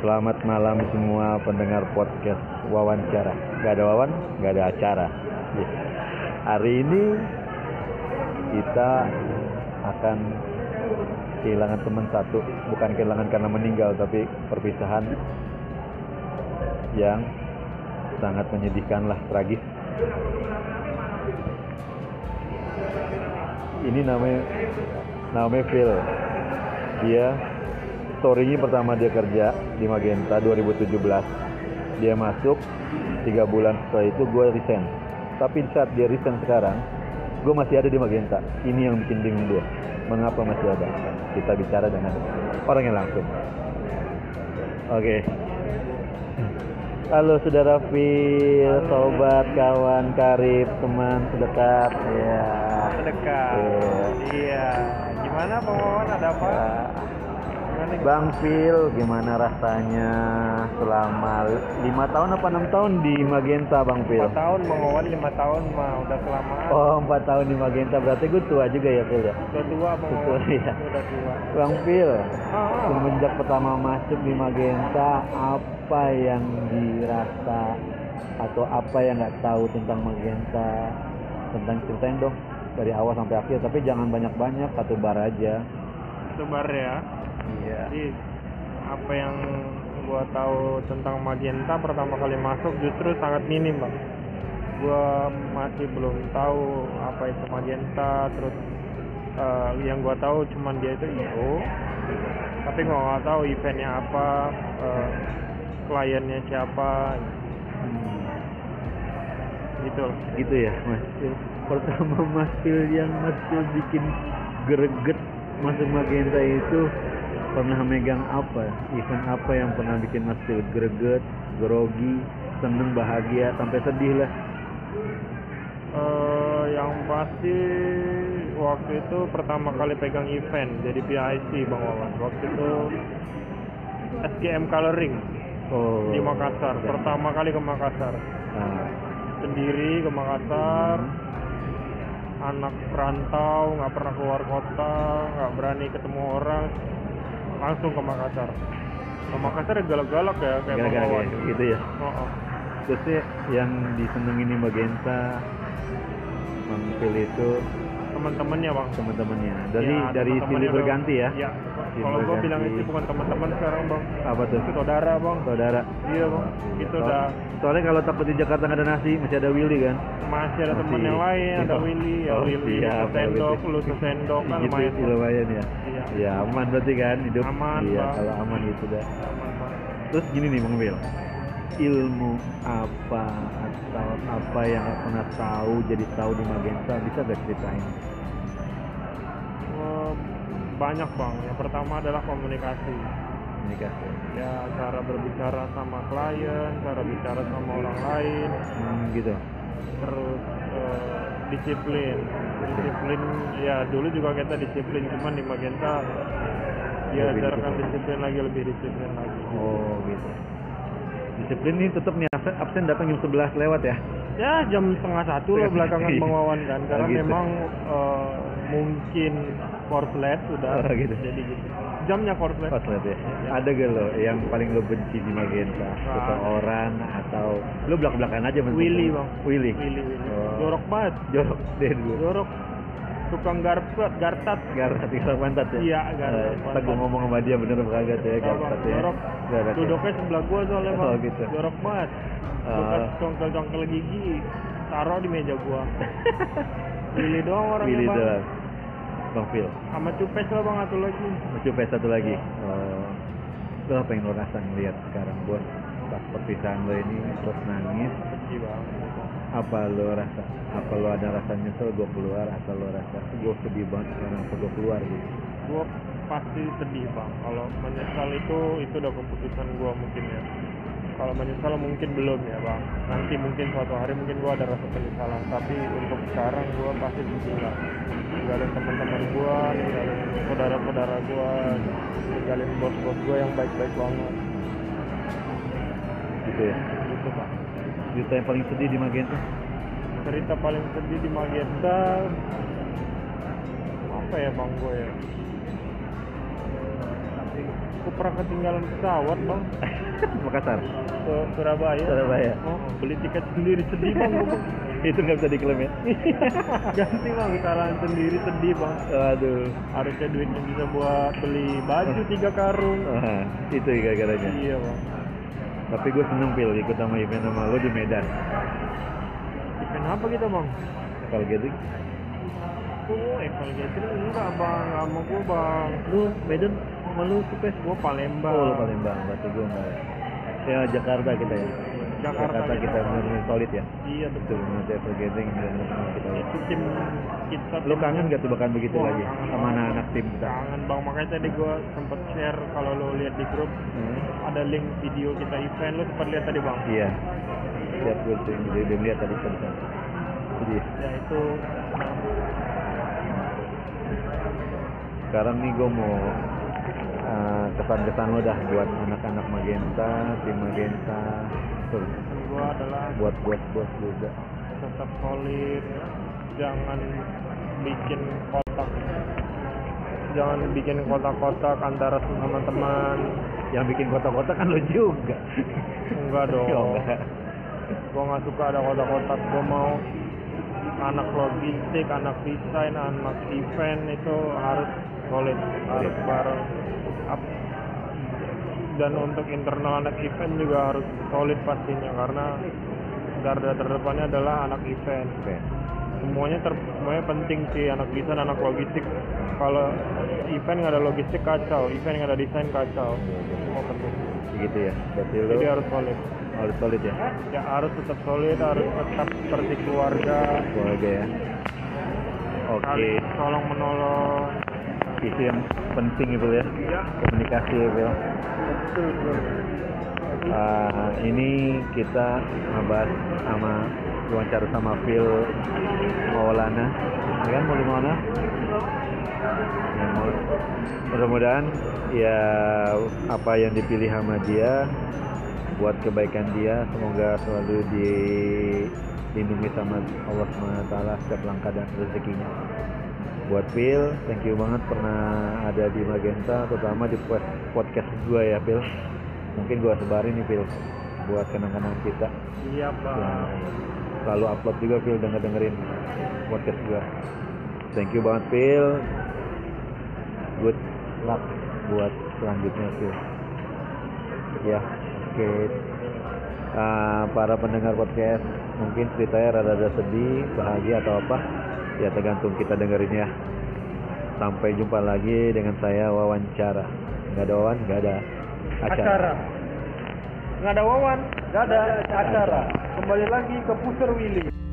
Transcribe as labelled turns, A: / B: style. A: Selamat malam semua pendengar podcast wawancara. Gak ada wawan, gak ada acara. Iya. Hari ini kita akan kehilangan teman satu, bukan kehilangan karena meninggal, tapi perpisahan yang sangat menyedihkan lah, tragis. Ini namanya namanya Phil. Dia story-nya pertama dia kerja di Magenta 2017. Dia masuk tiga bulan setelah itu gue resign. Tapi saat dia resign sekarang, gue masih ada di Magenta. Ini yang bikin bingung dia. Mengapa masih ada? Kita bicara dengan orangnya langsung. Oke. Halo saudara Phil, sobat, kawan, karib, teman, sedekat. Ya.
B: Dekat. Iya. Gimana Pak Wawan ada apa? Gimana?
A: Iya. Bang Phil, gimana rasanya selama lima tahun apa enam tahun di Magenta Bang Phil?
B: 4 tahun Bang Wawan 5 tahun mah udah kelamaan.
A: Oh empat tahun di Magenta berarti gue tua juga ya Phil ya.
B: Udah tua Bang
A: Betul,
B: Wawan.
A: iya.
B: Udah tua.
A: Bang Phil,
B: Ah, ah.
A: semenjak pertama masuk di Magenta apa yang dirasa atau apa yang nggak tahu tentang Magenta tentang ceritain dong dari awal sampai akhir tapi jangan banyak banyak satu bar aja.
B: Sebar ya.
A: Iya.
B: Jadi apa yang gua tahu tentang Magenta pertama kali masuk justru sangat minim, Bang. Gua masih belum tahu apa itu Magenta, terus eh, yang gua tahu cuman dia itu IO. Tapi gua nggak tahu eventnya apa, eh, kliennya siapa,
A: Hmm.
B: gitu. lah.
A: gitu ya Mas Phil. pertama Mas Phil yang Mas Phil bikin greget masuk Magenta itu pernah megang apa event apa yang pernah bikin Mas Phil greget grogi seneng bahagia sampai sedih lah
B: Eh, yang pasti waktu itu pertama kali pegang event jadi PIC Bang Wawan. Waktu itu SGM Coloring
A: oh
B: di Makassar. Pertama kali ke Makassar.
A: Nah,
B: Sendiri ke Makassar.
A: Hmm.
B: Anak perantau, nggak pernah keluar kota, nggak berani ketemu orang. Langsung ke Makassar. Ke Makassar ya galak-galak ya kayak Bang
A: gara-gara
B: Wawan.
A: kayak gitu ya
B: Oh, oh.
A: terus sih yang disenengin di Magenta Bang Phil itu
B: Teman-temannya Bang.
A: teman-temannya dari
B: Ya,
A: dari
B: teman-temannya
A: silih
B: dong.
A: berganti ya
B: Iya.
A: Silih
B: Kalau gua
A: berganti.
B: bilang itu bukan teman-teman sekarang, Bang.
A: apa tuh
B: Itu saudara, Bang.
A: saudara
B: Iya, Bang. Itu
A: So-
B: udah
A: Gitu soalnya kalau takut di Jakarta nggak ada nasi masih ada Willy kan
B: masih ada teman
A: Masih.
B: yang lain, ada
A: Iya.
B: Willy, ya
A: Oh,
B: Willy,
A: siap, Bang
B: sendok,
A: Willy.
B: lu sendok kan
A: gitu
B: lumayan.
A: sih lumayan ya
B: Iya.
A: ya aman berarti kan hidup
B: Aman,
A: iya
B: Bang.
A: kalau aman gitu dah
B: aman, Bang.
A: terus gini nih Bang Bill ilmu apa atau apa yang nggak pernah tahu jadi tahu di Magenta bisa gak ceritain
B: Eh, banyak, Bang. Yang pertama adalah komunikasi.
A: ini kan
B: Ya, cara berbicara sama klien, cara bicara sama orang lain,
A: hmm, gitu
B: terus eh, disiplin. Disiplin ya dulu juga kita disiplin, cuman di Magenta diajarkan disiplin lagi lebih disiplin lagi.
A: oh gitu disiplin ini tetap nih absen, absen datang jam 11 lewat ya
B: ya jam setengah satu lah belakangan Bang Wawan kan karena
A: Oh, Iya. gitu.
B: memang eh, mungkin korslet sudah
A: Oh, gitu.
B: jadi gitu jamnya korslet
A: pas lihat ya ada gak lo yang paling lo benci di Magenta seseorang atau lo belak belakan aja menurut
B: Willy,
A: lo.
B: Bang.
A: Willy
B: Willy, Willy.
A: Oh.
B: jorok banget
A: jorok deh dulu
B: jorok tukang garpet gartat
A: Garbat, garbat pantat ya?
B: Iya,
A: Eh,
B: garbat
A: ntar
B: pantat.
A: gua ngomong sama dia bener apa kagak tuh ya,
B: Tahu,
A: garbat
B: Bang.
A: ya.
B: jorok
A: Garbat ya.
B: duduknya sebelah gua soalnya bang
A: Oh, gitu.
B: jorok banget
A: Ah.
B: bukan congkel-congkel gigi taruh di meja gua Willy doang orangnya
A: Willy
B: bang
A: doang. Bang Phil,
B: sama cupes lah bang satu lagi
A: lucu pes satu lagi.
B: Iya.
A: Oh. Lo apa yang lo rasa ngeliat sekarang, buat Pas perpisahan lo ini, terus nangis,
B: benci banget
A: apa lo rasa? Apa lo ada rasa nyesel gue keluar, atau lo rasa gue sedih banget sekarang, apa gue keluar gitu?
B: gue pasti sedih bang kalau menyesal itu itu udah keputusan gue mungkin ya kalau menyesal mungkin belum ya bang nanti mungkin suatu hari mungkin gue ada rasa penyesalan tapi untuk sekarang gue pasti sedih lah ninggalin teman-teman gue ninggalin saudara-saudara gue ninggalin bos-bos gue yang baik-baik banget
A: Gitu ya.
B: gitu bang
A: Cerita yang paling sedih di Magenta?
B: cerita paling sedih di Magenta apa ya bang gue ya aku pernah ketinggalan pesawat bang
A: Makassar
B: ke Surabaya
A: Surabaya.
B: oh, beli tiket sendiri sedih bang gua, Bang.
A: itu nggak bisa diklaim ya
B: ganti bang kesalahan sendiri sedih bang
A: aduh
B: harusnya duitnya bisa buat beli
A: Oh.
B: baju tiga karung
A: Ah, itu gara-garanya
B: iya bang
A: tapi gue seneng pil ikut sama event sama lo di Medan
B: event apa gitu bang
A: kalau gitu
B: oh event gitu enggak bang nggak mau gua bang
A: lu Medan sama lu Supes
B: gua Palembang
A: oh lu Palembang berarti gue enggak ya Jakarta kita ya
B: Jakarta,
A: kita benar-benar solid ya
B: iya betul
A: betul benar Travel Gathering benar-benar kita ya.
B: itu tim kita
A: lu kangen gak tuh bahkan begitu
B: Wah,
A: lagi
B: kangen
A: sama
B: banget,
A: anak-anak tim kita
B: kangen bang makanya tadi gua sempet share kalau lo lihat di grup
A: Hmm.
B: ada link video kita event lo sempat lihat tadi bang
A: iya siap gue tuh dia dia melihat tadi tadi jadi
B: ya itu
A: sekarang nih gue mau eh, kesan-kesan lo dah buat anak-anak Magenta tim Magenta terus
B: pesan gua adalah
A: buat buat bos juga
B: tetap solid jangan bikin kotak jangan bikin kotak-kotak antara sama teman
A: yang bikin kotak-kotak kan lo juga
B: enggak
A: Oh,
B: dong
A: enggak.
B: gua nggak suka ada kotak-kotak gua mau anak logistik anak desain anak event itu harus solid harus bareng Ap- dan untuk internal anak event juga harus solid pastinya karena garda terdepannya adalah anak event
A: Oke.
B: semuanya ter semuanya penting sih anak desain anak logistik kalau event nggak ada logistik kacau event nggak ada desain kacau semua penting
A: gitu ya berarti lo
B: jadi harus solid
A: harus solid ya
B: ya harus tetap solid harus tetap seperti keluarga
A: keluarga ya oke
B: saling tolong menolong
A: itu yang penting itu ya
B: ya
A: komunikasi ya Bill.
B: betul bro
A: Uh, ini kita ngebahas sama wawancara sama Phil Maulana ya kan Maulana Maulana? Ya, Maul- mudah-mudahan ya apa yang dipilih sama dia buat kebaikan dia semoga selalu dilindungi sama Allah SWT setiap langkah dan rezekinya buat Phil thank you banget pernah ada di Magenta terutama di pod- podcast gua ya Phil mungkin gua sebarin nih Phil buat kenang-kenang kita
B: iya bang
A: Nah, selalu upload juga Phil denger dengerin podcast gua thank you banget Phil good luck buat selanjutnya Phil ya oke Ah, para pendengar podcast mungkin ceritanya rada-rada sedih bahagia atau apa ya tergantung kita dengerin ya sampai jumpa lagi dengan saya wawancara nggak ada wawan nggak ada acara.
B: nggak ada wawan nggak ada acara kembali lagi ke Pusher Willy